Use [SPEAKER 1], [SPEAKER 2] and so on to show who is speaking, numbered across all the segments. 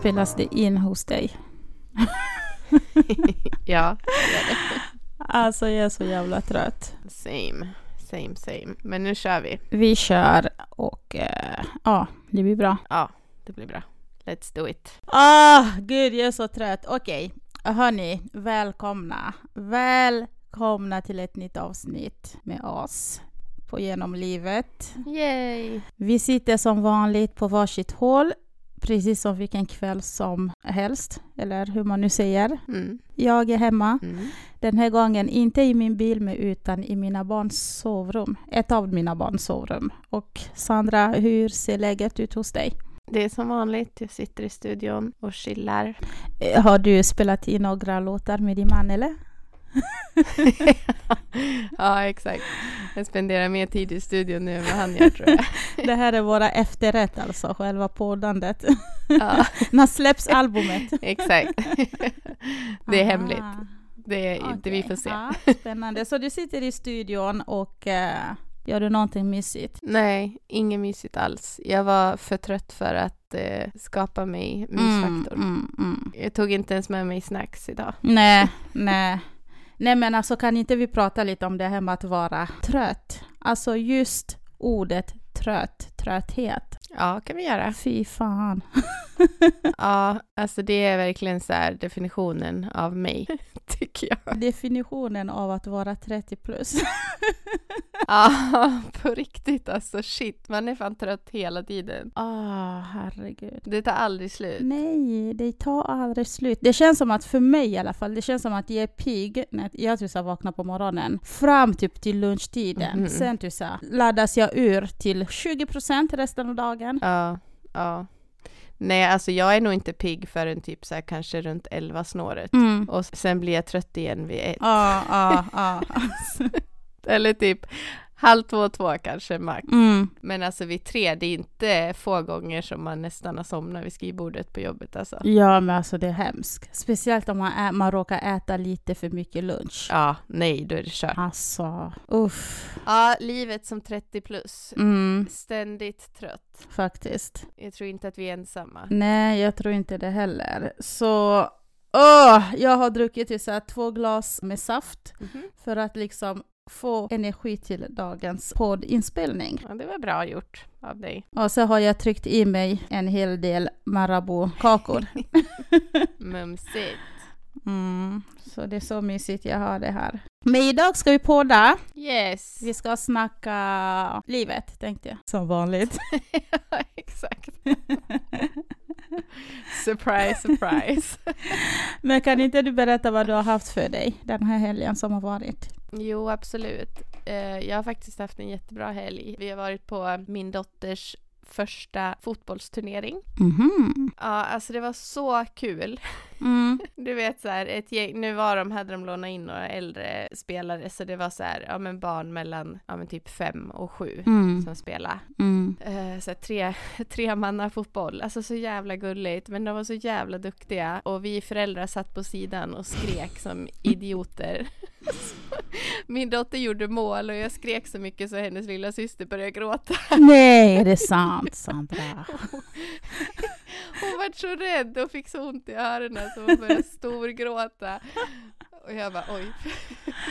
[SPEAKER 1] spelas det in hos dig.
[SPEAKER 2] ja, det är det.
[SPEAKER 1] Alltså jag är så jävla trött.
[SPEAKER 2] Same, same, same. Men nu kör vi.
[SPEAKER 1] Vi kör och eh, ja, det blir bra.
[SPEAKER 2] Ja, det blir bra. Let's do it.
[SPEAKER 1] Ah, gud jag är så trött. Okej, hörni, välkomna. Välkomna till ett nytt avsnitt med oss på Genom livet.
[SPEAKER 2] Yay!
[SPEAKER 1] Vi sitter som vanligt på varsitt håll, precis som vilken kväll som helst, eller hur man nu säger.
[SPEAKER 2] Mm,
[SPEAKER 1] Jag är hemma,
[SPEAKER 2] mm.
[SPEAKER 1] den här gången inte i min bil med, utan i mina barns sovrum. Ett av mina barns sovrum. Och Sandra, hur ser läget ut hos dig?
[SPEAKER 2] Det är som vanligt, jag sitter i studion och chillar.
[SPEAKER 1] Eh, Har du spelat in några låtar med din man eller?
[SPEAKER 2] ja, exakt. Jag spenderar mer tid i studion nu än vad han gör tror jag.
[SPEAKER 1] Det här är våra efterrätt alltså, själva poddandet.
[SPEAKER 2] Ja,
[SPEAKER 1] När släpps albumet?
[SPEAKER 2] exakt. Det är hemligt.
[SPEAKER 1] Ah.
[SPEAKER 2] Det är inte vi
[SPEAKER 1] Okej.
[SPEAKER 2] får se.
[SPEAKER 1] Ja, spännande. Så du sitter i studion och eh, gör du någonting mysigt?
[SPEAKER 2] Nej, inget mysigt alls. Jag var för trött för att eh, skapa mig mysfaktor.
[SPEAKER 1] mm, mm.
[SPEAKER 2] Jag tog inte ens med mig snacks idag.
[SPEAKER 1] Nej, nej. Nej men alltså kan inte vi prata lite om det här med att vara trött? Alltså just ordet trött, trötthet.
[SPEAKER 2] Ja, kan vi göra.
[SPEAKER 1] Fy fan.
[SPEAKER 2] Ja, alltså det är verkligen så här definitionen av mig, tycker jag.
[SPEAKER 1] Definitionen av att vara 30 plus.
[SPEAKER 2] Ja, på riktigt alltså. Shit, man är fan trött hela tiden.
[SPEAKER 1] Ah, herregud.
[SPEAKER 2] Det tar aldrig slut.
[SPEAKER 1] Nej, det tar aldrig slut. Det känns som att, för mig i alla fall, det känns som att jag är pigg när jag typ så här vaknar på morgonen fram typ till lunchtiden.
[SPEAKER 2] Mhm.
[SPEAKER 1] Sen typ så här laddas jag ur till 20% resten av dagen.
[SPEAKER 2] Ja, ja. Nej, alltså jag är nog inte pigg förrän typ så här kanske runt 11-snåret.
[SPEAKER 1] Mm.
[SPEAKER 2] Och sen blir jag trött igen vid ett.
[SPEAKER 1] Ja, ja, ja.
[SPEAKER 2] Eller typ halv två, två kanske max.
[SPEAKER 1] Mm.
[SPEAKER 2] Men alltså vid tre, det är inte få gånger som man nästan har somnat vid skrivbordet på jobbet alltså.
[SPEAKER 1] Ja, men alltså det är hemskt. Speciellt om man, ä- man råkar äta lite för mycket lunch.
[SPEAKER 2] Ja, nej, då är det kört.
[SPEAKER 1] Alltså, uff.
[SPEAKER 2] Ja, livet som 30 plus.
[SPEAKER 1] Mm,
[SPEAKER 2] Ständigt trött.
[SPEAKER 1] faktiskt.
[SPEAKER 2] Jag tror inte att vi är ensamma.
[SPEAKER 1] Nej, jag tror inte det heller. Så åh, jag har druckit ju så här två glas med saft
[SPEAKER 2] Mhm.
[SPEAKER 1] för att liksom få energi till dagens poddinspelning.
[SPEAKER 2] Ja, det var bra gjort av dig.
[SPEAKER 1] Och så har jag tryckt i mig en hel del Marabou-kakor.
[SPEAKER 2] Mumsigt.
[SPEAKER 1] Mm, så det är så mysigt jag har det här. Men idag ska vi podda.
[SPEAKER 2] Yes.
[SPEAKER 1] Vi ska snacka livet, tänkte jag. Som vanligt.
[SPEAKER 2] ja, exakt. surprise, surprise.
[SPEAKER 1] Men kan inte du berätta vad du har haft för dig den här helgen som har varit?
[SPEAKER 2] jo, absolut. Eh, Jag har faktiskt haft en jättebra helg. Vi har varit på min dotters första fotbollsturnering.
[SPEAKER 1] Mhm.
[SPEAKER 2] Ja, alltså det var så kul.
[SPEAKER 1] Mm.
[SPEAKER 2] Du vet så här, ett gäng, nu var de, hade de lånat in några äldre spelare så det var så här, ja men barn mellan, ja men typ fem och sju
[SPEAKER 1] Mm.
[SPEAKER 2] som spelade.
[SPEAKER 1] Mm.
[SPEAKER 2] Eh, så här, tre, tre manna fotboll, alltså så jävla gulligt men de var så jävla duktiga och vi föräldrar satt på sidan och skrek som idioter. Min dotter gjorde mål och jag skrek så mycket så hennes lilla syster började gråta.
[SPEAKER 1] Nej, är det sant Sandra?
[SPEAKER 2] Hon var så rädd och fick så ont i öronen så hon började storgråta. Och jag bara oj,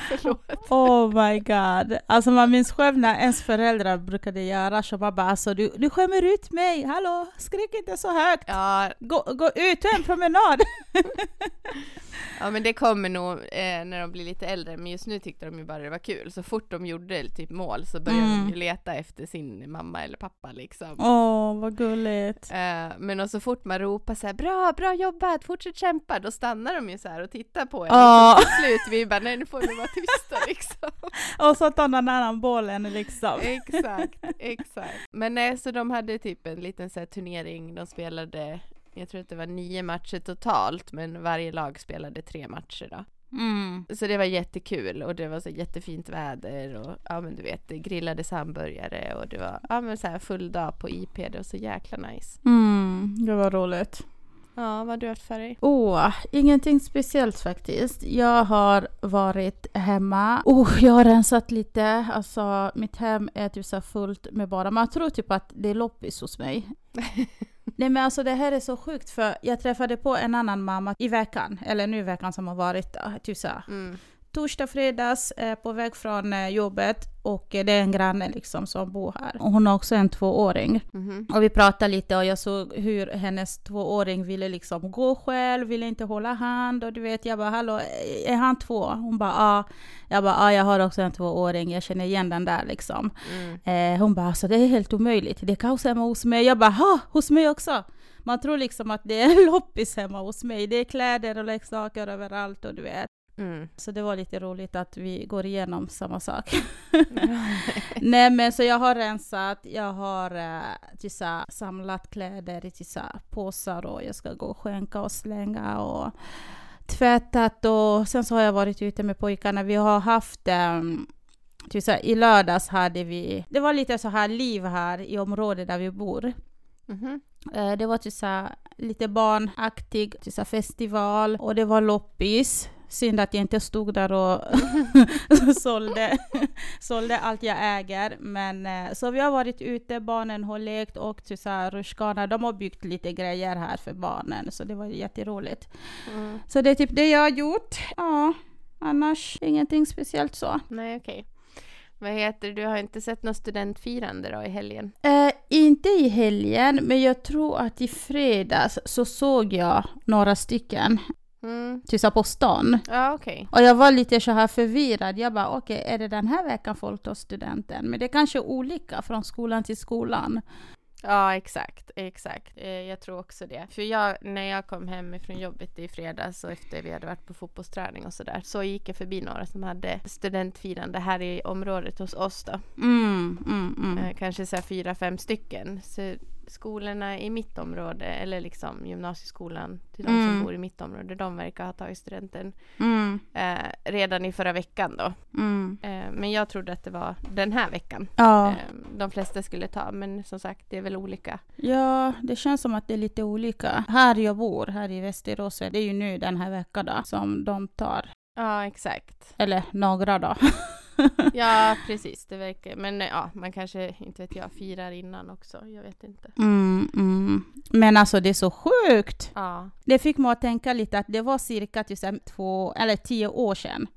[SPEAKER 2] förlåt.
[SPEAKER 1] Oh my god. Alltså man minns själv när ens föräldrar brukade göra så man bara alltså du, du skämmer ut mig, hallå skrik inte så högt.
[SPEAKER 2] Ja,
[SPEAKER 1] Gå, gå ut, ta en promenad.
[SPEAKER 2] ja men det kommer nog eh, när de blir lite äldre men just nu tyckte de ju bara det var kul. Så fort de gjorde typ mål så började
[SPEAKER 1] Mm.
[SPEAKER 2] de ju leta efter sin mamma eller pappa liksom.
[SPEAKER 1] Åh, oh, vad gulligt.
[SPEAKER 2] Eh, men och så fort man ropar så här bra, bra jobbat, fortsätt kämpa, då stannar de ju så här och tittar på en.
[SPEAKER 1] Ja.
[SPEAKER 2] Och så till slut vi bara nej nu får vi vara tysta liksom.
[SPEAKER 1] Och så tar någon annan bollen liksom.
[SPEAKER 2] Exakt, exakt. Men nej, så de hade typ en liten så här turnering, de spelade, jag tror att det var nio matcher totalt, men varje lag spelade tre matcher då.
[SPEAKER 1] Mm.
[SPEAKER 2] Så det var jättekul och det var så jättefint väder och ja men du vet, det grillades hamburgare och det var ja men så här full dag på IP, det var så jäkla nice.
[SPEAKER 1] Mm, det var roligt.
[SPEAKER 2] Ja, vad har du haft för dig?
[SPEAKER 1] Åh, ingenting speciellt faktiskt. Jag har varit hemma. Oh, jag har rensat lite. Alltså, mitt hem är typ så här fullt med bara... Man tror typ att det är loppis hos mig. Nej men alltså det här är så sjukt för jag träffade på en annan mamma i veckan, eller nu i veckan som har varit, eh, typ så här,
[SPEAKER 2] Mm.
[SPEAKER 1] torsdag, fredags eh, på väg från eh, jobbet och eh, det är en granne liksom som bor här. Och hon har också en tvååring.
[SPEAKER 2] Mhm.
[SPEAKER 1] Och vi pratade lite och jag såg hur hennes tvååring ville liksom gå själv, ville inte hålla hand och du vet jag bara hallå, är han två? Hon bara ja. Jag bara ja, jag har också en tvååring, jag känner igen den där liksom.
[SPEAKER 2] Mm.
[SPEAKER 1] Eh, hon bara alltså det är helt omöjligt, det är kaos hemma hos mig. Jag bara ha, hos mig också! Man tror liksom att det är loppis hemma hos mig, det är kläder och leksaker överallt och du vet.
[SPEAKER 2] Mm.
[SPEAKER 1] Så det var lite roligt att vi går igenom samma sak. Nej men så jag har rensat, jag har eh, tissa, samlat kläder i tissa, påsar och jag ska gå och skänka och slänga och tvättat och sen så har jag varit ute med pojkarna. Vi har haft um, tissa, i lördags hade vi, det var lite så här liv här i området där vi bor.
[SPEAKER 2] Mhm.
[SPEAKER 1] Eh, Det var typ så här lite barnaktig typ så här festival och det var loppis. Synd att jag inte stod där och sålde, sålde allt jag äger. Men, eh, så vi har varit ute, barnen har lekt och typ så här rutschkana, de har byggt lite grejer här för barnen. Så det var jätteroligt.
[SPEAKER 2] Mm.
[SPEAKER 1] Så det är typ det jag har gjort. Ja, annars ingenting speciellt så.
[SPEAKER 2] Nej, okej. Vad heter det? Du har inte sett något studentfirande då i helgen?
[SPEAKER 1] Eh, inte i helgen, men jag tror att i fredags så såg jag några stycken
[SPEAKER 2] Mm.
[SPEAKER 1] typ så här på stan.
[SPEAKER 2] Ja, okej.
[SPEAKER 1] Och jag var lite så här förvirrad. Jag bara, okej, är det den här veckan folk tar studenten? Men det kanske är olika från skolan till skolan.
[SPEAKER 2] Ja, exakt. exakt. Eh, jag tror också det. För jag, när jag kom hem från jobbet i fredags och efter vi hade varit på fotbollsträning och sådär så gick jag förbi några som hade studentfirande här i området hos oss då.
[SPEAKER 1] Mm, mm, mm.
[SPEAKER 2] Eh, kanske så här fyra, fem stycken. Så skolorna i mitt område eller liksom gymnasieskolan till de
[SPEAKER 1] Mm.
[SPEAKER 2] som bor i mitt område, de verkar ha tagit studenten
[SPEAKER 1] Mm,
[SPEAKER 2] eh, redan i förra veckan då.
[SPEAKER 1] mm.
[SPEAKER 2] Eh, men jag trodde att det var den här veckan
[SPEAKER 1] Ja.
[SPEAKER 2] eh, de flesta skulle ta. Men som sagt, det är väl olika.
[SPEAKER 1] ja, det känns som att det är lite olika. Här jag bor, här i Västerås, det är ju nu den här veckan då, som de tar.
[SPEAKER 2] Ja, exakt.
[SPEAKER 1] Eller några då.
[SPEAKER 2] Ja, precis. Det verkar. Men eh, ja, man kanske, inte vet jag, firar innan också. Jag vet inte.
[SPEAKER 1] Mm, mm. Men alltså det är så sjukt!
[SPEAKER 2] Ja.
[SPEAKER 1] Det fick mig att tänka lite att det var cirka typ så här två, eller tio år sedan.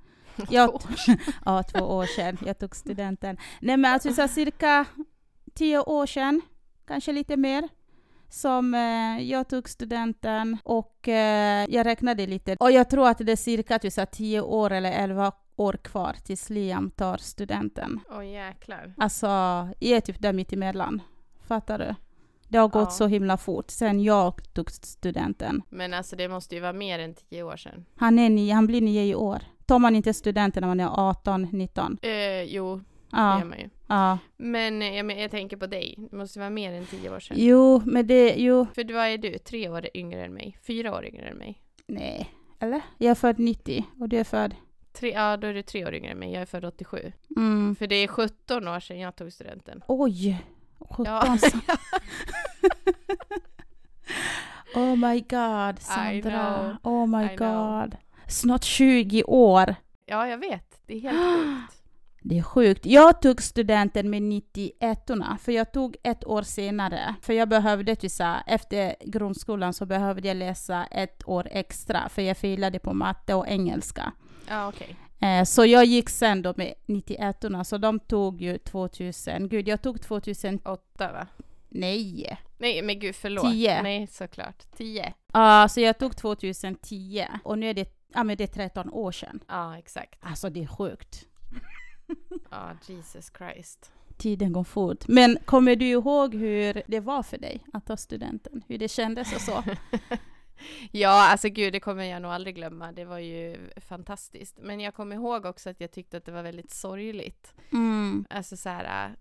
[SPEAKER 1] Jag, ja, två år sedan. Jag tog studenten. Nej men alltså så här, cirka tio år sedan, kanske lite mer, som eh, jag tog studenten och eh, jag räknade lite. Och jag tror att det är cirka typ så här, tio år eller elva år kvar tills Liam tar studenten.
[SPEAKER 2] Åh jäklar.
[SPEAKER 1] Alltså, jag är typ där mitt emellan. Fattar du? Det har gått
[SPEAKER 2] Ja.
[SPEAKER 1] så himla fort sen jag tog studenten.
[SPEAKER 2] Men alltså det måste ju vara mer än tio år sedan.
[SPEAKER 1] Han, är nio, han blir nio i år. Tar man inte studenten när man är 18, 19?
[SPEAKER 2] Eh, jo, det
[SPEAKER 1] Ja.
[SPEAKER 2] gör man ju.
[SPEAKER 1] ja.
[SPEAKER 2] Men eh, jag, men jag tänker på dig. Det måste ju vara mer än tio år sedan.
[SPEAKER 1] Jo, men det, jo.
[SPEAKER 2] För vad är du? Tre år yngre än mig? Fyra år yngre än mig?
[SPEAKER 1] Nej. Eller? Jag är född 90 och du är född?
[SPEAKER 2] Tre, ja, då är du tre år yngre än mig. Jag är född 87.
[SPEAKER 1] Mm.
[SPEAKER 2] För det är 17 år sedan jag tog studenten.
[SPEAKER 1] Oj! 17
[SPEAKER 2] Ja.
[SPEAKER 1] Oh my god,
[SPEAKER 2] I
[SPEAKER 1] Sandra. Oh my
[SPEAKER 2] I know.
[SPEAKER 1] god. Snart 20 år.
[SPEAKER 2] Ja, jag vet. Det är helt sjukt.
[SPEAKER 1] Det är sjukt. Jag tog studenten med 91 för jag tog ett år senare. För jag behövde, typ så här, efter grundskolan så behövde jag läsa ett år extra, för jag filade på matte och engelska.
[SPEAKER 2] Ja, okej.
[SPEAKER 1] Eh, så jag gick sen då med 91 så de tog ju 2000. Gud, jag tog 2000,
[SPEAKER 2] Åtta, va?
[SPEAKER 1] nej.
[SPEAKER 2] Nej, men gud, förlåt.
[SPEAKER 1] Tio.
[SPEAKER 2] Nej, såklart. Tio.
[SPEAKER 1] Ja, så jag tog 2010 och nu är det, ja men det är 13 år sedan.
[SPEAKER 2] Ja, exakt.
[SPEAKER 1] Alltså det är sjukt.
[SPEAKER 2] Ja, Jesus Christ.
[SPEAKER 1] Tiden går fort. Men kommer du ihåg hur det var för dig att ta studenten? Hur det kändes och så?
[SPEAKER 2] Ja, alltså gud, det kommer jag nog aldrig glömma. Det var ju fantastiskt. Men jag kommer ihåg också att jag tyckte att det var väldigt sorgligt.
[SPEAKER 1] Mm.
[SPEAKER 2] Alltså så här, äh,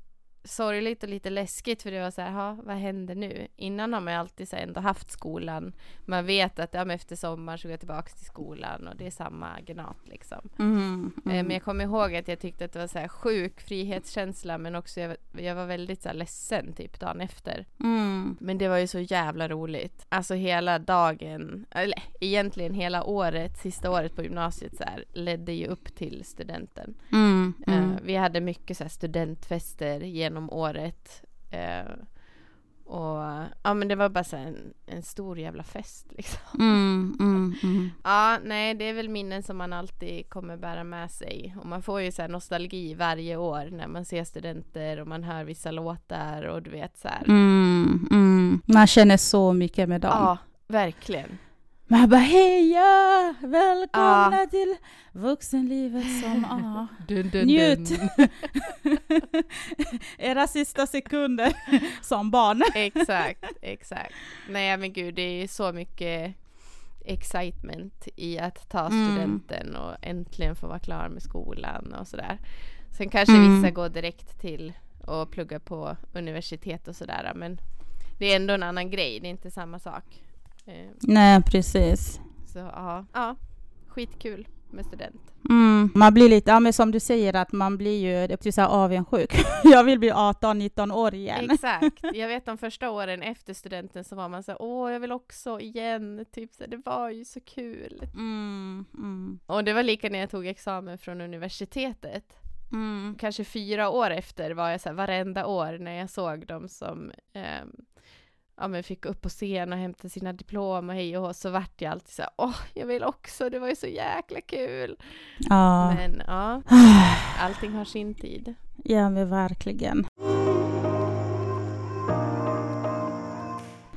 [SPEAKER 2] sorgligt och lite läskigt för det var så här, "Ha, vad händer nu? Innan har man ju alltid så här, ändå haft skolan. Man vet att ja, men efter sommaren så går jag tillbaka till skolan och det är samma gnat liksom.
[SPEAKER 1] Mm.
[SPEAKER 2] Eh, Men jag kommer ihåg att jag tyckte att det var så här sjuk frihetskänsla men också jag, jag var väldigt så här ledsen typ dagen efter.
[SPEAKER 1] Mm.
[SPEAKER 2] Men det var ju så jävla roligt. Alltså hela dagen, eller egentligen hela året, sista året på gymnasiet så här, ledde ju upp till studenten.
[SPEAKER 1] Mm.
[SPEAKER 2] Eh,
[SPEAKER 1] Mm.
[SPEAKER 2] vi hade mycket så här studentfester genom året. Eh, Och ja men det var bara så här en, en stor jävla fest liksom.
[SPEAKER 1] Mm, mm, mm.
[SPEAKER 2] Ja, nej, det är väl minnen som man alltid kommer bära med sig. Och man får ju så här nostalgi varje år när man ser studenter och man hör vissa låtar och du vet så här.
[SPEAKER 1] Mm, mm. Man känner så mycket med dem.
[SPEAKER 2] Ja, verkligen.
[SPEAKER 1] Man bara heja! Välkomna till vuxenlivet som ah, Njut! Era sista sekunder som barn.
[SPEAKER 2] Exakt, exakt. Nej men gud, det är så mycket excitement i att ta
[SPEAKER 1] Mm.
[SPEAKER 2] studenten och äntligen få vara klar med skolan och sådär. Sen kanske
[SPEAKER 1] Mm.
[SPEAKER 2] vissa går direkt till och pluggar på universitet och sådär men det är ändå en annan grej, det är inte samma sak. Eh,
[SPEAKER 1] Nej, precis.
[SPEAKER 2] Så ja, ja skitkul med student.
[SPEAKER 1] Mm. Man blir lite, ja men som du säger att man blir ju det är så här avundsjuk. Jag vill bli 18-19 år igen.
[SPEAKER 2] Exakt. Jag vet de första åren efter studenten så var man så här, åh jag vill också igen, typ så här, det var ju så kul.
[SPEAKER 1] Mm, mm,
[SPEAKER 2] Och det var lika när jag tog examen från universitetet.
[SPEAKER 1] mm.
[SPEAKER 2] kanske fyra år efter var jag så här, varenda år när jag såg dem som ehm, ja, men fick upp på scen och hämta sina diplom och hej och hå, så vart jag alltid så här, åh, jag vill också, det var ju så jäkla kul.
[SPEAKER 1] Ja.
[SPEAKER 2] Men ja, allting har sin tid.
[SPEAKER 1] ja, men verkligen.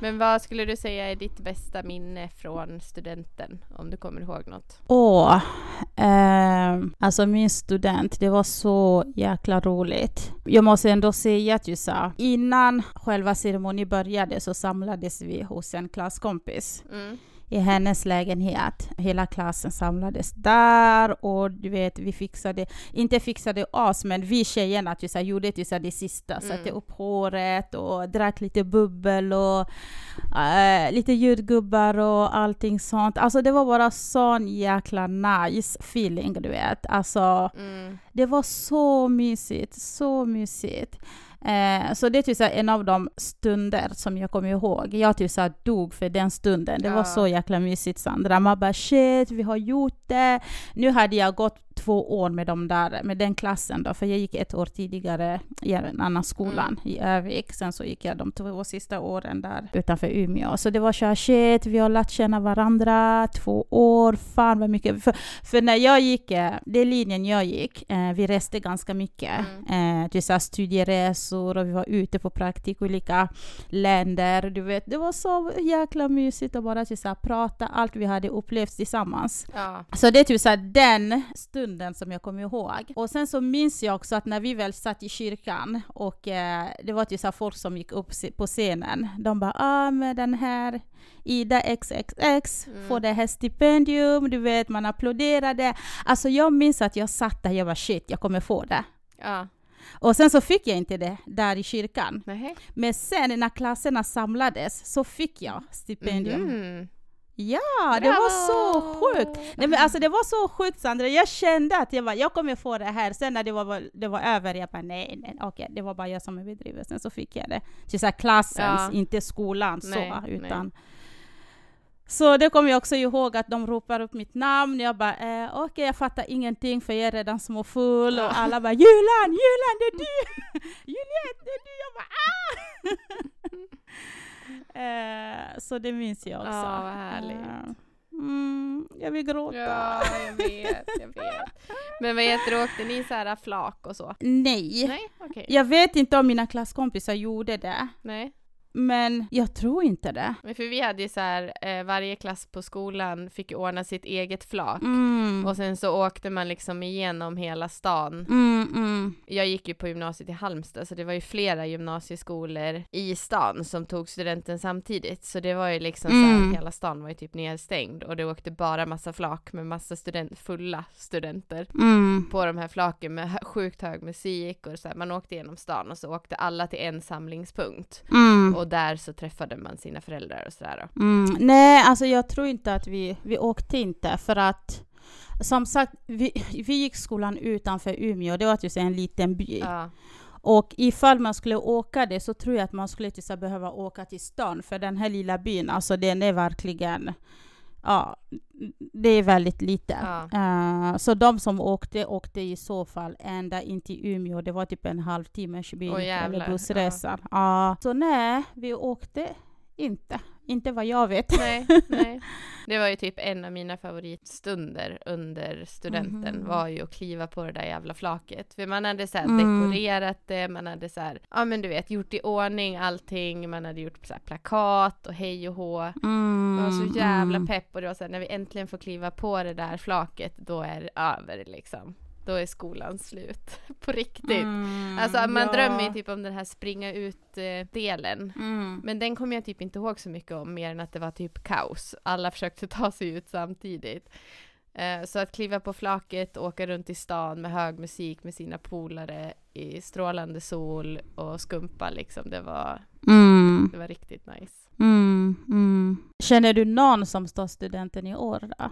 [SPEAKER 2] Men vad skulle du säga är ditt bästa minne från studenten, om du kommer ihåg något?
[SPEAKER 1] Åh, ehm, alltså min student, det var så jäkla roligt. Jag måste ändå säga att just så här, innan själva ceremonin började så samlades vi hos en klasskompis
[SPEAKER 2] Mm.
[SPEAKER 1] i hennes lägenhet. Hela klassen samlades där och du vet, vi fixade, inte fixade oss, men vi tjejerna just så här, gjorde just så här, det sista. Satte upp håret och drack lite bubbel och eh, lite ljudgubbar och allting sånt. Alltså det var bara sån jäkla nice feeling, du vet. Alltså
[SPEAKER 2] Mm.
[SPEAKER 1] det var så mysigt, så mysigt. Eh, så det är typ så här en av de stunder som jag kommer ihåg. Jag typ så här dog för den stunden. Det
[SPEAKER 2] Ja.
[SPEAKER 1] var så jäkla mysigt Sandra. Man bara shit, vi har gjort det. Nu hade jag gått två år med, de där, med den klassen då, för jag gick ett år tidigare i en annan skolan i Övik. Sen så gick jag de två sista åren där utanför Umeå. Så det var så här shit, vi har lärt känna varandra två år, fan vad mycket. För, för när jag gick, eh, den linjen jag gick, eh, vi reste ganska mycket. Eh, till så här studieresor och vi var ute på praktik i olika länder. Du vet, det var så jäkla mysigt att bara till så här, prata allt vi hade upplevt tillsammans.
[SPEAKER 2] Ja.
[SPEAKER 1] Så det är typ så här, den stunden som jag kommer ihåg. Och sen så minns jag också att när vi väl satt i kyrkan och eh, det var typ så här folk som gick upp se- på scenen. De bara ah, men den här Ida XXX får det här stipendium, du vet man applåderade. Alltså jag minns att jag satt där, jag bara shit jag kommer få det.
[SPEAKER 2] Ja.
[SPEAKER 1] Och sen så fick jag inte det där i kyrkan.
[SPEAKER 2] Nähä.
[SPEAKER 1] Men sen när klasserna samlades så fick jag stipendium.
[SPEAKER 2] Mm.
[SPEAKER 1] Ja, det var så sjukt! Nej, men alltså, det var så sjukt Sandra, jag kände att jag, bara, jag kommer få det här. Sen när det var, det var över, jag bara nej, nej, okej, det var bara jag som bedrev Sen så fick jag det. Till så här klassens,
[SPEAKER 2] Ja.
[SPEAKER 1] inte skolan
[SPEAKER 2] Nej,
[SPEAKER 1] så,
[SPEAKER 2] nej.
[SPEAKER 1] utan så det kommer jag också ihåg att de ropar upp mitt namn. Jag bara eh, okej, jag fattar ingenting för jag är redan småfull
[SPEAKER 2] Ja.
[SPEAKER 1] och alla bara Julan, Julan det är du! Juliette det är du! Jag bara ah! eh, så det minns jag också.
[SPEAKER 2] Ja, vad härligt.
[SPEAKER 1] Eh, Mm, jag vill gråta.
[SPEAKER 2] Ja, jag vet, jag vet. Men vad heter det, åkte ni så här flak och så?
[SPEAKER 1] Nej.
[SPEAKER 2] Nej, okej.
[SPEAKER 1] Jag vet inte om mina klasskompisar gjorde det,
[SPEAKER 2] Nej,
[SPEAKER 1] men jag tror inte det.
[SPEAKER 2] men för vi hade ju så här, eh, varje klass på skolan fick ju ordna sitt eget flak.
[SPEAKER 1] Mm.
[SPEAKER 2] Och sen så åkte man liksom igenom hela stan.
[SPEAKER 1] Mm, mm.
[SPEAKER 2] Jag gick ju på gymnasiet i Halmstad så det var ju flera gymnasieskolor i stan som tog studenten samtidigt. Så det var ju liksom så
[SPEAKER 1] Mm.
[SPEAKER 2] här, hela stan var ju typ nedstängd och det åkte bara massa flak med massa student, fulla studenter.
[SPEAKER 1] Mm.
[SPEAKER 2] på de här flaken med hö- sjukt hög musik och så här, man åkte genom stan och så åkte alla till en samlingspunkt
[SPEAKER 1] Mm.
[SPEAKER 2] och där så träffade man sina föräldrar och sådär. då.
[SPEAKER 1] Mm, nej, alltså jag tror inte att vi, vi åkte inte för att som sagt, vi, vi gick skolan utanför Umeå, det var typ så en liten by.
[SPEAKER 2] Ja,
[SPEAKER 1] Och ifall man skulle åka det så tror jag att man skulle typ så här behöva åka till stan, för den här lilla byn, alltså den är verkligen Ja, det är väldigt lite.
[SPEAKER 2] Ja.
[SPEAKER 1] Eh, så de som åkte, åkte i så fall ända in till Umeå. Det var typ en halvtimmes bil
[SPEAKER 2] Åh, jävlar,
[SPEAKER 1] eller
[SPEAKER 2] ja.
[SPEAKER 1] bussresa. Ja. Så nej, vi åkte inte. Inte vad jag vet.
[SPEAKER 2] Nej, nej. Det var ju typ en av mina favoritstunder under studenten
[SPEAKER 1] Mhm.
[SPEAKER 2] var ju att kliva på det där jävla flaket. För man hade så här
[SPEAKER 1] Mm.
[SPEAKER 2] dekorerat det, man hade så här, ja men du vet, gjort i ordning allting, man hade gjort så här plakat och hej och hå.
[SPEAKER 1] Mm,
[SPEAKER 2] Man var så jävla
[SPEAKER 1] mm.
[SPEAKER 2] pepp och det var så här, när vi äntligen får kliva på det där flaket, då är det över liksom. Då är skolan slut. på riktigt.
[SPEAKER 1] Mm,
[SPEAKER 2] Alltså man
[SPEAKER 1] ja.
[SPEAKER 2] drömmer ju typ om den här springa ut-delen.
[SPEAKER 1] Mm.
[SPEAKER 2] Men den kommer jag typ inte ihåg så mycket om, mer än att det var typ kaos. Alla försökte ta sig ut samtidigt. Eh, Så att kliva på flaket, åka runt i stan med hög musik med sina polare i strålande sol och skumpa liksom, det var,
[SPEAKER 1] Mm.
[SPEAKER 2] det var riktigt nice.
[SPEAKER 1] Mm. Mm. Känner du någon som står studenten i år då?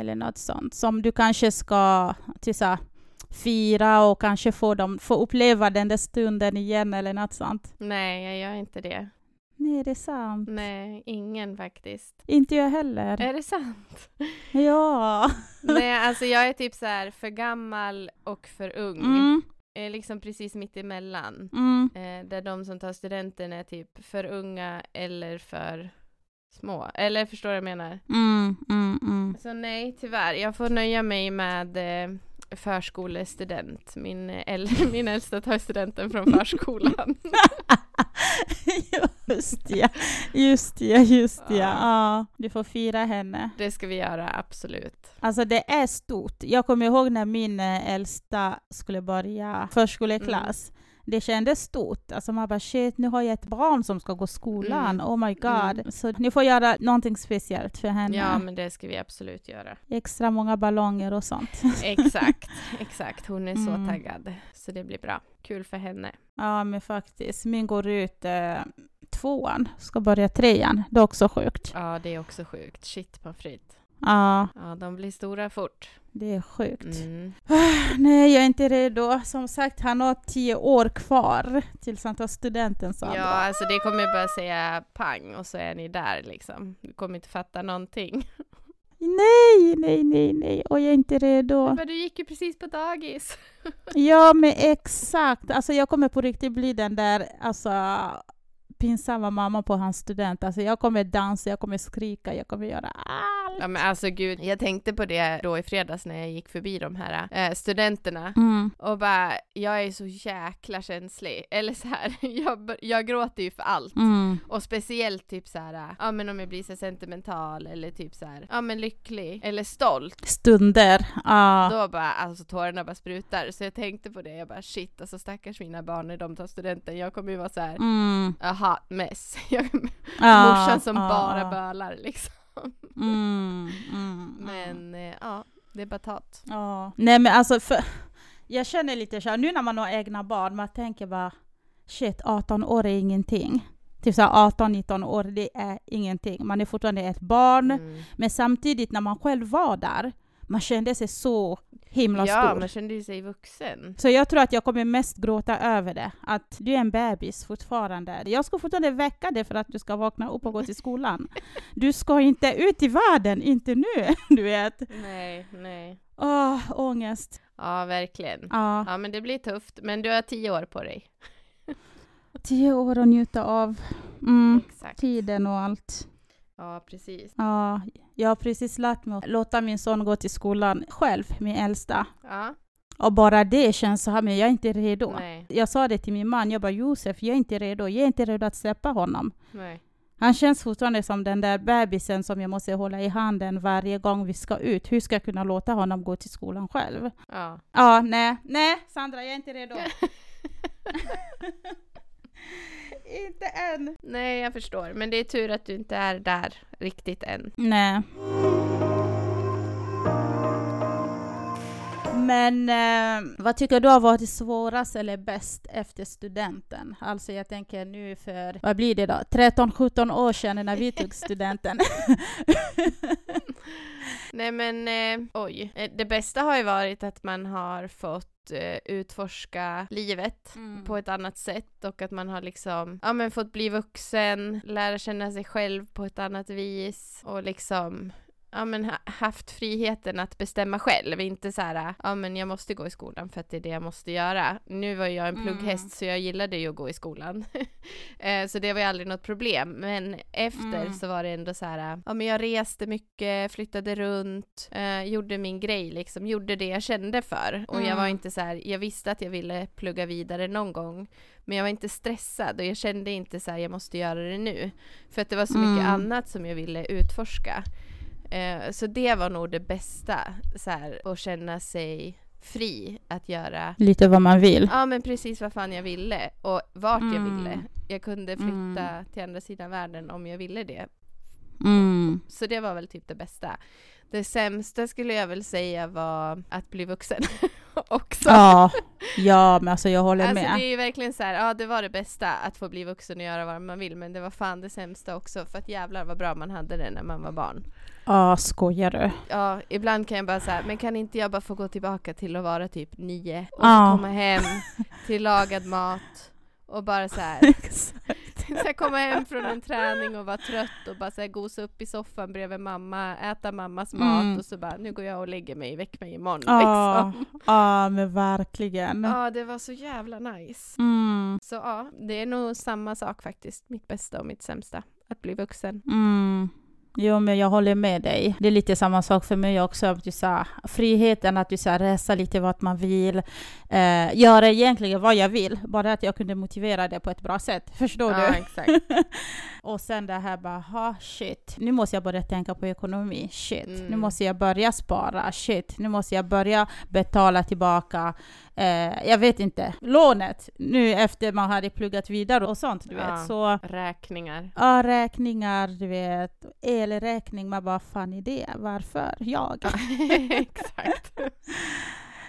[SPEAKER 1] Eller något sånt som du kanske ska till så här, fira och kanske få, dem, få uppleva den där stunden igen eller något sånt?
[SPEAKER 2] Nej, jag gör inte det.
[SPEAKER 1] Nej, det är sant.
[SPEAKER 2] Nej, ingen faktiskt.
[SPEAKER 1] Inte jag heller.
[SPEAKER 2] Är det sant?
[SPEAKER 1] Ja.
[SPEAKER 2] Nej, alltså jag är typ så här för gammal och för ung.
[SPEAKER 1] Mm.
[SPEAKER 2] Jag är liksom precis mitt emellan.
[SPEAKER 1] Mm.
[SPEAKER 2] Eh, där de som tar studenten är typ för unga eller för små. Eller förstår du vad jag menar?
[SPEAKER 1] Mm. Mm. Mm.
[SPEAKER 2] Så nej, tyvärr. Jag får nöja mig med eh, förskolestudent. Min, eh, äl- min äldsta tar studenten från förskolan.
[SPEAKER 1] Just ja, just ja, just ja.
[SPEAKER 2] Ja.
[SPEAKER 1] ja. Du får fira henne.
[SPEAKER 2] Det ska vi göra, absolut.
[SPEAKER 1] Alltså det är stort. Jag kommer ihåg när min eh, äldsta skulle börja förskoleklass.
[SPEAKER 2] Mm.
[SPEAKER 1] Det kändes stort. Alltså man bara shit, nu har jag ett barn som ska gå skolan.
[SPEAKER 2] Mm.
[SPEAKER 1] Oh my god.
[SPEAKER 2] Mm.
[SPEAKER 1] Så ni får göra någonting speciellt för henne.
[SPEAKER 2] Ja, men eh, det ska vi absolut göra.
[SPEAKER 1] Extra många ballonger och sånt.
[SPEAKER 2] Exakt, exakt. Hon är
[SPEAKER 1] Mm.
[SPEAKER 2] så taggad. Så det blir bra. Kul för henne.
[SPEAKER 1] Ja men faktiskt. Min går ut eh, tvåan, ska börja trean. Det är också sjukt.
[SPEAKER 2] Ja, det är också sjukt. Shit på fritt.
[SPEAKER 1] Ja,
[SPEAKER 2] Ja, de blir stora fort.
[SPEAKER 1] det är sjukt.
[SPEAKER 2] Mm.
[SPEAKER 1] Nej, jag är inte redo. Som sagt, han har tio år kvar tills han tar studenten sa han
[SPEAKER 2] Ja,
[SPEAKER 1] då.
[SPEAKER 2] alltså det kommer bara säga pang och så är ni där liksom. Du kommer inte fatta någonting.
[SPEAKER 1] Nej, nej, nej, nej. Och jag är inte redo.
[SPEAKER 2] Men du gick ju precis på dagis.
[SPEAKER 1] Ja, men exakt. Alltså jag kommer på riktigt bli den där alltså, pinsamma mamman på hans student. Alltså jag kommer dansa, jag kommer skrika, jag kommer göra allt.
[SPEAKER 2] Ja men alltså gud, jag tänkte på det då i fredags när jag gick förbi de här eh, studenterna
[SPEAKER 1] Mm.
[SPEAKER 2] och bara, jag är så jäkla känslig. Eller så här, jag, bör- jag gråter ju för allt.
[SPEAKER 1] Mm.
[SPEAKER 2] Och speciellt typ så här, ja men om jag blir så sentimental eller typ så här, ja men lycklig eller stolt.
[SPEAKER 1] Stunder. Ja.
[SPEAKER 2] Då bara, alltså tårarna bara sprutar. Så jag tänkte på det, jag bara shit alltså stackars mina barn när de tar studenten. Jag kommer ju vara så här,
[SPEAKER 1] Mm.
[SPEAKER 2] Aha, mess. Jag,
[SPEAKER 1] Ja,
[SPEAKER 2] morsan som
[SPEAKER 1] ja,
[SPEAKER 2] bara
[SPEAKER 1] ja.
[SPEAKER 2] bölar liksom.
[SPEAKER 1] Mm. Mm. Mm.
[SPEAKER 2] Men eh, ja, det är batat.
[SPEAKER 1] Ja. Nej men alltså, för, jag känner lite så här, nu när man har egna barn, man tänker bara shit, 18 år är ingenting. Typ så här 18-19 år, det är ingenting. Man är fortfarande ett barn.
[SPEAKER 2] Mm.
[SPEAKER 1] Men samtidigt när man själv var där, man kände sig så himla
[SPEAKER 2] Ja,
[SPEAKER 1] stor.
[SPEAKER 2] man kände ju sig vuxen.
[SPEAKER 1] Så jag tror att jag kommer mest gråta över det, att du är en bebis fortfarande. Jag ska fortfarande väcka dig för att du ska vakna upp och gå till skolan. Du ska inte ut i världen, inte nu! Du vet.
[SPEAKER 2] Nej, nej.
[SPEAKER 1] Åh, ångest.
[SPEAKER 2] Ja, verkligen.
[SPEAKER 1] Ja,
[SPEAKER 2] Ja, men det blir tufft. Men du har tio år på dig.
[SPEAKER 1] tio år att njuta av. Mm.
[SPEAKER 2] Exakt.
[SPEAKER 1] Tiden och allt.
[SPEAKER 2] Ja, precis.
[SPEAKER 1] Ja, jag har precis lärt mig att låta min son gå till skolan själv, min äldsta.
[SPEAKER 2] Ja,
[SPEAKER 1] Och bara det känns så här, men jag är inte redo.
[SPEAKER 2] nej,
[SPEAKER 1] Jag sa det till min man, jag bara Josef, jag är inte redo, jag är inte redo att släppa honom.
[SPEAKER 2] nej.
[SPEAKER 1] Han känns fortfarande som den där bebisen som jag måste hålla i handen varje gång vi ska ut. Hur ska jag kunna låta honom gå till skolan själv?
[SPEAKER 2] Ja.
[SPEAKER 1] Ja, nej, nej, Sandra, jag är inte redo. inte än.
[SPEAKER 2] Nej, jag förstår. Men det är tur att du inte är där riktigt än.
[SPEAKER 1] Nej. Men eh, vad tycker du har varit svårast eller bäst efter studenten? Alltså jag tänker nu för, vad blir det då, 13-17 år sedan när vi tog studenten.
[SPEAKER 2] Nej men eh, oj. Eh, Det bästa har ju varit att man har fått eh, utforska livet
[SPEAKER 1] Mm.
[SPEAKER 2] på ett annat sätt och att man har liksom, ja men fått bli vuxen, lära känna sig själv på ett annat vis och liksom ja, men ha, haft friheten att bestämma själv. Inte så här, ja men jag måste gå i skolan för att det är det jag måste göra. Nu var ju jag en
[SPEAKER 1] Mm.
[SPEAKER 2] plugghäst så jag gillade ju att gå i skolan. Eh, så det var ju aldrig något problem. Men efter
[SPEAKER 1] Mm.
[SPEAKER 2] så var det ändå så här, ja men jag reste mycket, flyttade runt, eh, gjorde min grej liksom, gjorde det jag kände för. Och jag var
[SPEAKER 1] Mm.
[SPEAKER 2] inte så här, jag visste att jag ville plugga vidare någon gång. Men jag var inte stressad och jag kände inte så här, jag måste göra det nu. För att det var så mycket
[SPEAKER 1] Mm.
[SPEAKER 2] annat som jag ville utforska. Eh, så det var nog det bästa, så här, att känna sig fri att göra
[SPEAKER 1] Lite vad man vill.
[SPEAKER 2] Ja men precis vad fan jag ville och vart jag
[SPEAKER 1] Mm.
[SPEAKER 2] ville. Jag kunde
[SPEAKER 1] Mm.
[SPEAKER 2] flytta till andra sidan världen om jag ville det.
[SPEAKER 1] Mm.
[SPEAKER 2] Så det var väl typ det bästa. Det sämsta skulle jag väl säga var att bli vuxen också.
[SPEAKER 1] Ja, ja men alltså jag håller
[SPEAKER 2] Alltså
[SPEAKER 1] med.
[SPEAKER 2] det är ju verkligen så här, ja det var det bästa att få bli vuxen och göra vad man vill men det var fan det sämsta också för att jävlar vad bra man hade det när man var barn.
[SPEAKER 1] Ja, skojar du?
[SPEAKER 2] Ja, ibland kan jag bara säga, men kan inte jag bara få gå tillbaka till att vara typ nio och
[SPEAKER 1] Ja.
[SPEAKER 2] få komma hem till lagad mat och bara så här, så här komma hem från en träning och vara trött och bara så här gosa upp i soffan bredvid mamma, äta mammas
[SPEAKER 1] Mm.
[SPEAKER 2] mat och så bara nu går jag och lägger mig, väck mig imorgon
[SPEAKER 1] Ja,
[SPEAKER 2] liksom.
[SPEAKER 1] ja men verkligen.
[SPEAKER 2] Ja, det var så jävla nice.
[SPEAKER 1] Mm.
[SPEAKER 2] Så ja, det är nog samma sak faktiskt, mitt bästa och mitt sämsta, att bli vuxen.
[SPEAKER 1] Mm. Jo, men jag håller med dig. Det är lite samma sak för mig också. Att du sa, friheten att du sa, resa lite vart man vill. Eh, göra egentligen vad jag vill. Bara att jag kunde motivera det på ett bra sätt. Förstår
[SPEAKER 2] Ja,
[SPEAKER 1] du?
[SPEAKER 2] exakt.
[SPEAKER 1] Och sen det här bara, ha shit. Nu måste jag börja tänka på ekonomi. Shit. Nu
[SPEAKER 2] Mm.
[SPEAKER 1] måste jag börja spara. Shit. Nu måste jag börja betala tillbaka. Eh, jag vet inte. Lånet. Nu efter man hade pluggat vidare och sånt. Du
[SPEAKER 2] Ja.
[SPEAKER 1] vet. Så
[SPEAKER 2] Räkningar.
[SPEAKER 1] Ja, räkningar, du vet. Elräkning, man bara fan är det? Varför? Jag?
[SPEAKER 2] exakt.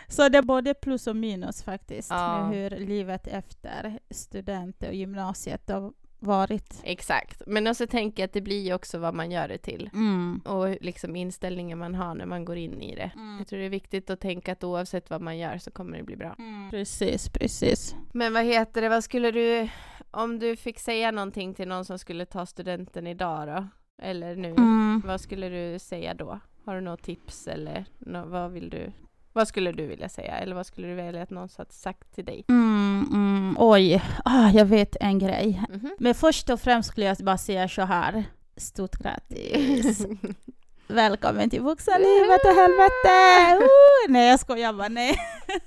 [SPEAKER 1] Så det är både plus och minus faktiskt
[SPEAKER 2] Ja.
[SPEAKER 1] med hur livet efter student och gymnasiet har varit.
[SPEAKER 2] Exakt, men också tänker jag att det blir ju också vad man gör det till
[SPEAKER 1] Mm.
[SPEAKER 2] och liksom inställningen man har när man går in i det.
[SPEAKER 1] Mm.
[SPEAKER 2] Jag tror det är viktigt att tänka att oavsett vad man gör så kommer det bli bra.
[SPEAKER 1] Mm. Precis, precis.
[SPEAKER 2] Men vad heter det, vad skulle du, om du fick säga någonting till någon som skulle ta studenten idag då? Eller nu,
[SPEAKER 1] Mm.
[SPEAKER 2] vad skulle du säga då? Har du något tips eller nå- vad vill du, vad skulle du vilja säga? Eller vad skulle du vilja att någon hade sagt till dig?
[SPEAKER 1] Mm, mm. Oj, ah, jag vet en grej.
[SPEAKER 2] Mhm.
[SPEAKER 1] Men först och främst skulle jag bara säga så här. Stort grattis! Välkommen till vuxenlivet och helvete! Uh, nej jag skojar bara, nej.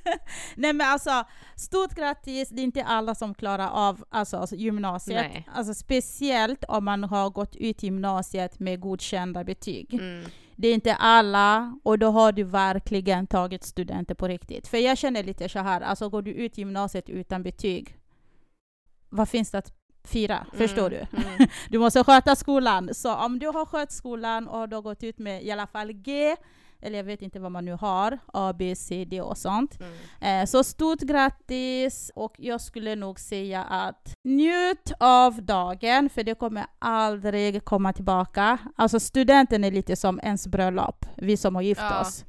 [SPEAKER 1] nej men alltså, stort grattis, det är inte alla som klarar av alltså, alltså, gymnasiet.
[SPEAKER 2] Nej.
[SPEAKER 1] Alltså, speciellt om man har gått ut gymnasiet med godkända betyg.
[SPEAKER 2] mm.
[SPEAKER 1] Det är inte alla, och då har du verkligen tagit studenter på riktigt. För jag känner lite så här, alltså går du ut gymnasiet utan betyg, vad finns det att fira? Förstår du?
[SPEAKER 2] Mm. Mm.
[SPEAKER 1] Du måste sköta skolan. Så om du har skött skolan och du har gått ut med i alla fall G, eller jag vet inte vad man nu har, A, B, C, D och sånt.
[SPEAKER 2] Mm.
[SPEAKER 1] Eh, Så stort grattis! Och jag skulle nog säga att njut av dagen, för det kommer aldrig komma tillbaka. Alltså studenten är lite som ens bröllop, vi som har gift
[SPEAKER 2] Ja.
[SPEAKER 1] oss.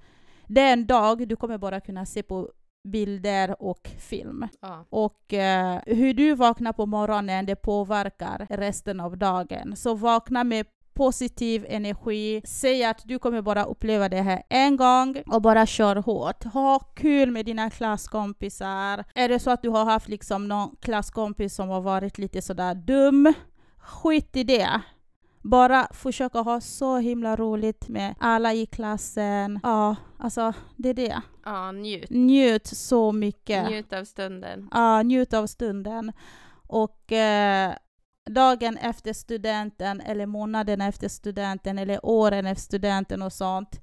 [SPEAKER 1] Det är en dag du kommer bara kunna se på bilder och film.
[SPEAKER 2] Ja.
[SPEAKER 1] Och eh, hur du vaknar på morgonen, det påverkar resten av dagen. Så vakna med positiv energi. Säg att du kommer bara uppleva det här en gång och bara kör hårt. Ha kul med dina klasskompisar. Är det så att du har haft liksom någon klasskompis som har varit lite sådär dum, skit i det. Bara försöka ha så himla roligt med alla i klassen. Ja, alltså det är det.
[SPEAKER 2] ja, njut.
[SPEAKER 1] Njut så mycket.
[SPEAKER 2] Njut av stunden.
[SPEAKER 1] Ja, njut av stunden. Och eh, dagen efter studenten, eller månaden efter studenten, eller åren efter studenten och sånt.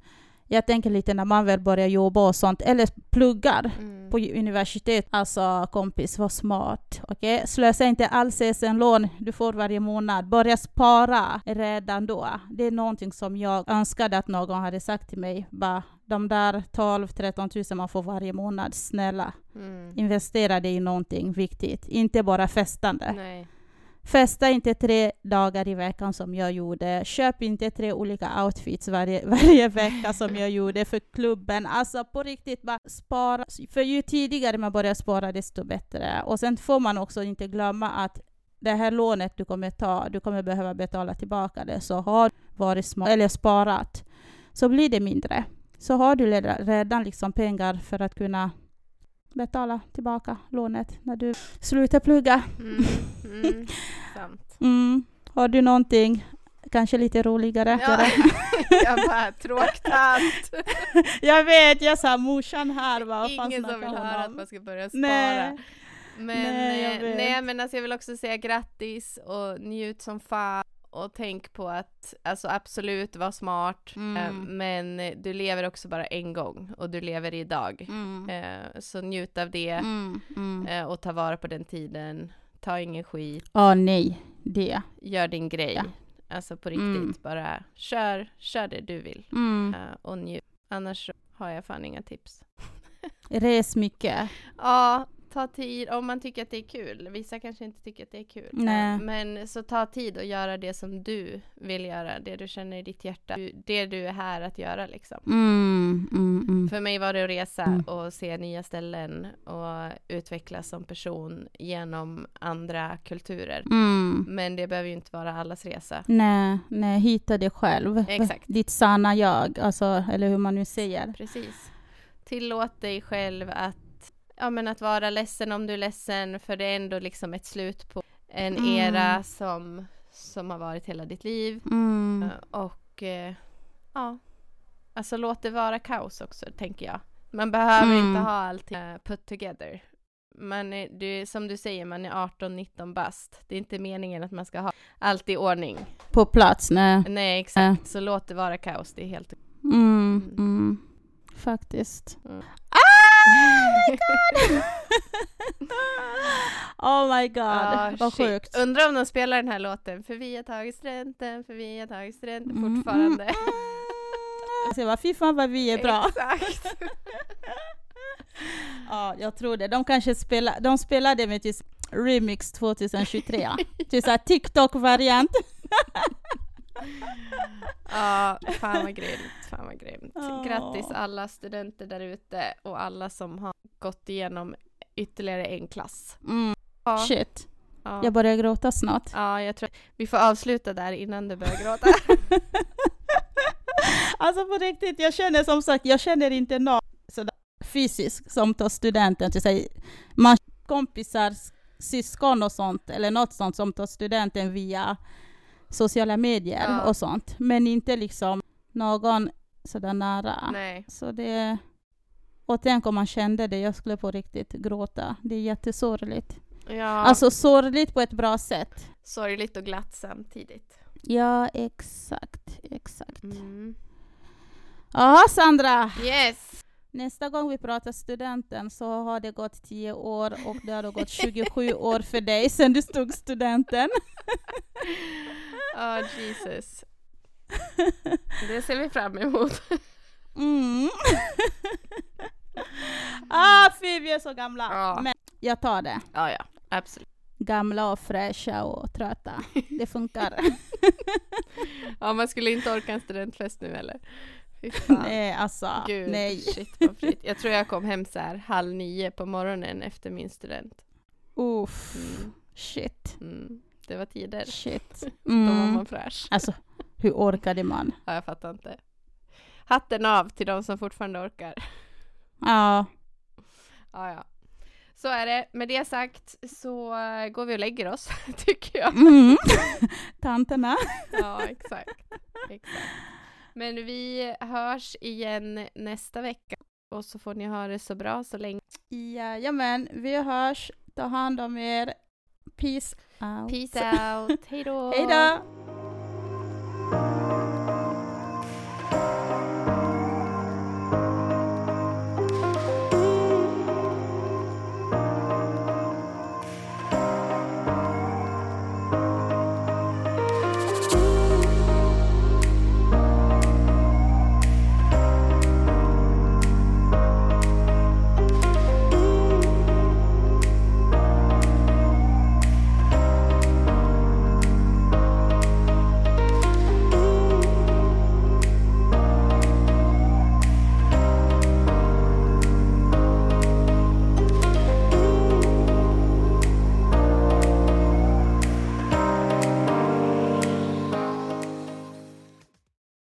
[SPEAKER 1] Jag tänker lite när man väl börjar jobba och sånt, eller pluggar
[SPEAKER 2] Mm.
[SPEAKER 1] på universitet. Alltså kompis, var smart. Okej? Slösa inte all CSN-lån du får varje månad. Börja spara redan då. Det är någonting som jag önskade att någon hade sagt till mig. Bara, de där 12-13 000 man får varje månad, snälla.
[SPEAKER 2] Mm.
[SPEAKER 1] Investera det i någonting viktigt, inte bara festande.
[SPEAKER 2] Nej.
[SPEAKER 1] Festa inte tre dagar i veckan som jag gjorde. Köp inte tre olika outfits varje, varje vecka som jag gjorde för klubben. Alltså på riktigt, bara spara. För ju tidigare man börjar spara, desto bättre. Och sen får man också inte glömma att det här lånet du kommer ta, du kommer behöva betala tillbaka det. Så har varit smart, eller sparat. så blir det mindre. Så har du leda- redan liksom pengar för att kunna betala tillbaka lånet när du slutar plugga.
[SPEAKER 2] Mm, mm, sant.
[SPEAKER 1] Mm. Har du någonting kanske lite roligare?
[SPEAKER 2] Ja, jag bara tråktant.
[SPEAKER 1] Jag vet, jag sa morsan här vad fan
[SPEAKER 2] Ingen som
[SPEAKER 1] snackar
[SPEAKER 2] vill
[SPEAKER 1] hon
[SPEAKER 2] höra att
[SPEAKER 1] om?
[SPEAKER 2] man ska börja spara.
[SPEAKER 1] Nej.
[SPEAKER 2] Men,
[SPEAKER 1] Nej, jag
[SPEAKER 2] eh,
[SPEAKER 1] vet.
[SPEAKER 2] nej, men alltså jag vill också säga grattis och njut som fan och tänk på att alltså absolut var smart
[SPEAKER 1] Mm.
[SPEAKER 2] eh, men du lever också bara en gång och du lever idag.
[SPEAKER 1] Mm.
[SPEAKER 2] Eh, så njut av det
[SPEAKER 1] Mm. Mm.
[SPEAKER 2] eh, och ta vara på den tiden. Ta ingen skit,
[SPEAKER 1] Åh, nej, det.
[SPEAKER 2] gör din grej.
[SPEAKER 1] Ja.
[SPEAKER 2] Alltså på riktigt,
[SPEAKER 1] Mm.
[SPEAKER 2] bara kör, kör det du vill
[SPEAKER 1] Mm.
[SPEAKER 2] eh, och njut. Annars har jag fan inga tips.
[SPEAKER 1] Res mycket.
[SPEAKER 2] Ja, ta tid om man tycker att det är kul. Vissa kanske inte tycker att det är kul.
[SPEAKER 1] Nej.
[SPEAKER 2] Men så ta tid och göra det som du vill göra, det du känner i ditt hjärta, Du- det du är här att göra liksom.
[SPEAKER 1] Mm. Mm. Mm.
[SPEAKER 2] För mig var det att resa
[SPEAKER 1] Mm.
[SPEAKER 2] och se nya ställen och utvecklas som person genom andra kulturer.
[SPEAKER 1] Mm.
[SPEAKER 2] Men det behöver ju inte vara allas resa.
[SPEAKER 1] Nej, nej, hitta dig själv.
[SPEAKER 2] Exakt.
[SPEAKER 1] Ditt sanna jag, alltså, eller hur man nu säger.
[SPEAKER 2] Precis. Tillåt dig själv att, ja, men att vara ledsen om du är ledsen för det är ändå liksom ett slut på en
[SPEAKER 1] Mm.
[SPEAKER 2] era som, som har varit hela ditt liv.
[SPEAKER 1] Mm.
[SPEAKER 2] Eh, Och eh, ja, alltså låt det vara kaos också tänker jag. Man behöver
[SPEAKER 1] Mm.
[SPEAKER 2] inte ha allting eh, put together. Man är, du, som du säger, man är 18-19 bast. Det är inte meningen att man ska ha allt i ordning.
[SPEAKER 1] På plats, nej.
[SPEAKER 2] Nej, exakt.
[SPEAKER 1] Äh.
[SPEAKER 2] Så låt det vara kaos, det är helt
[SPEAKER 1] Mm. Mm. Faktiskt.
[SPEAKER 2] Mm.
[SPEAKER 1] Ah, my god! oh my god,
[SPEAKER 2] Ja,
[SPEAKER 1] vad
[SPEAKER 2] Ah, shit.
[SPEAKER 1] sjukt.
[SPEAKER 2] Undrar om de spelar den här låten, för vi har tagit studenten, för vi har tagit studenten
[SPEAKER 1] Mm,
[SPEAKER 2] fortfarande.
[SPEAKER 1] mm, Alltså jag bara, fy fan vad vi är bra.
[SPEAKER 2] Exakt.
[SPEAKER 1] Ja, jag tror det. De kanske spelar, de spelade med just Remix 2023, ja. Typ såhär TikTok-variant.
[SPEAKER 2] Ja, fan vad grymt, fan vad grymt.
[SPEAKER 1] Ja.
[SPEAKER 2] Grattis alla studenter där ute och alla som har gått igenom ytterligare en klass.
[SPEAKER 1] Mm.
[SPEAKER 2] Ja,
[SPEAKER 1] Shit,
[SPEAKER 2] ja.
[SPEAKER 1] jag börjar gråta snart.
[SPEAKER 2] ja jag tror vi får avsluta där innan du börjar gråta.
[SPEAKER 1] Alltså på riktigt, jag känner som sagt, jag känner inte någon sådär fysiskt som tar studenten. Till sig. Man kompisar, syskon och sånt, eller något sånt som tar studenten via sociala medier
[SPEAKER 2] Ja.
[SPEAKER 1] och sånt. Men inte liksom någon sådär nära.
[SPEAKER 2] Nej.
[SPEAKER 1] Så det... Och tänk om man kände det, jag skulle på riktigt gråta. Det är jättesorgligt.
[SPEAKER 2] Ja,
[SPEAKER 1] Alltså sorgligt på ett bra sätt.
[SPEAKER 2] sorgligt och glatt samtidigt.
[SPEAKER 1] Ja, exakt, exakt.
[SPEAKER 2] Mm.
[SPEAKER 1] Ja, Sandra!
[SPEAKER 2] Yes!
[SPEAKER 1] Nästa gång vi pratar studenten så har det gått 10 år och det har gått 27 år för dig sedan du tog studenten.
[SPEAKER 2] Ja, Oh, Jesus. Det ser vi fram emot.
[SPEAKER 1] Mm. ah, fy, vi är så gamla.
[SPEAKER 2] Ja.
[SPEAKER 1] Men jag tar det.
[SPEAKER 2] Ja, ja, absolut.
[SPEAKER 1] Gamla och fräscha och trötta. Det funkar.
[SPEAKER 2] Ja, man skulle inte orka en studentfest nu heller. Fy fan.
[SPEAKER 1] nej, alltså.
[SPEAKER 2] Gud,
[SPEAKER 1] Nej.
[SPEAKER 2] shit vad fritt. Jag tror jag kom hem så här halv nio på morgonen efter min student.
[SPEAKER 1] Uff.
[SPEAKER 2] Mm,
[SPEAKER 1] Shit.
[SPEAKER 2] mm. Det var tider.
[SPEAKER 1] Shit.
[SPEAKER 2] Då var
[SPEAKER 1] Mm.
[SPEAKER 2] man fräsch.
[SPEAKER 1] Alltså, hur orkade man?
[SPEAKER 2] Ja, jag fattar inte. Hatten av till de som fortfarande orkar.
[SPEAKER 1] Ja.
[SPEAKER 2] Ja, ja. Så är det. Med det sagt så eh, går vi och lägger oss, tycker jag.
[SPEAKER 1] Mm. Tanterna.
[SPEAKER 2] Ja, exakt. exakt. Men vi hörs igen nästa vecka. Och så får ni ha det så bra så länge.
[SPEAKER 1] Jajamän, vi hörs. Ta hand om er. Peace out.
[SPEAKER 2] Peace out. Hej då.
[SPEAKER 1] Hej då!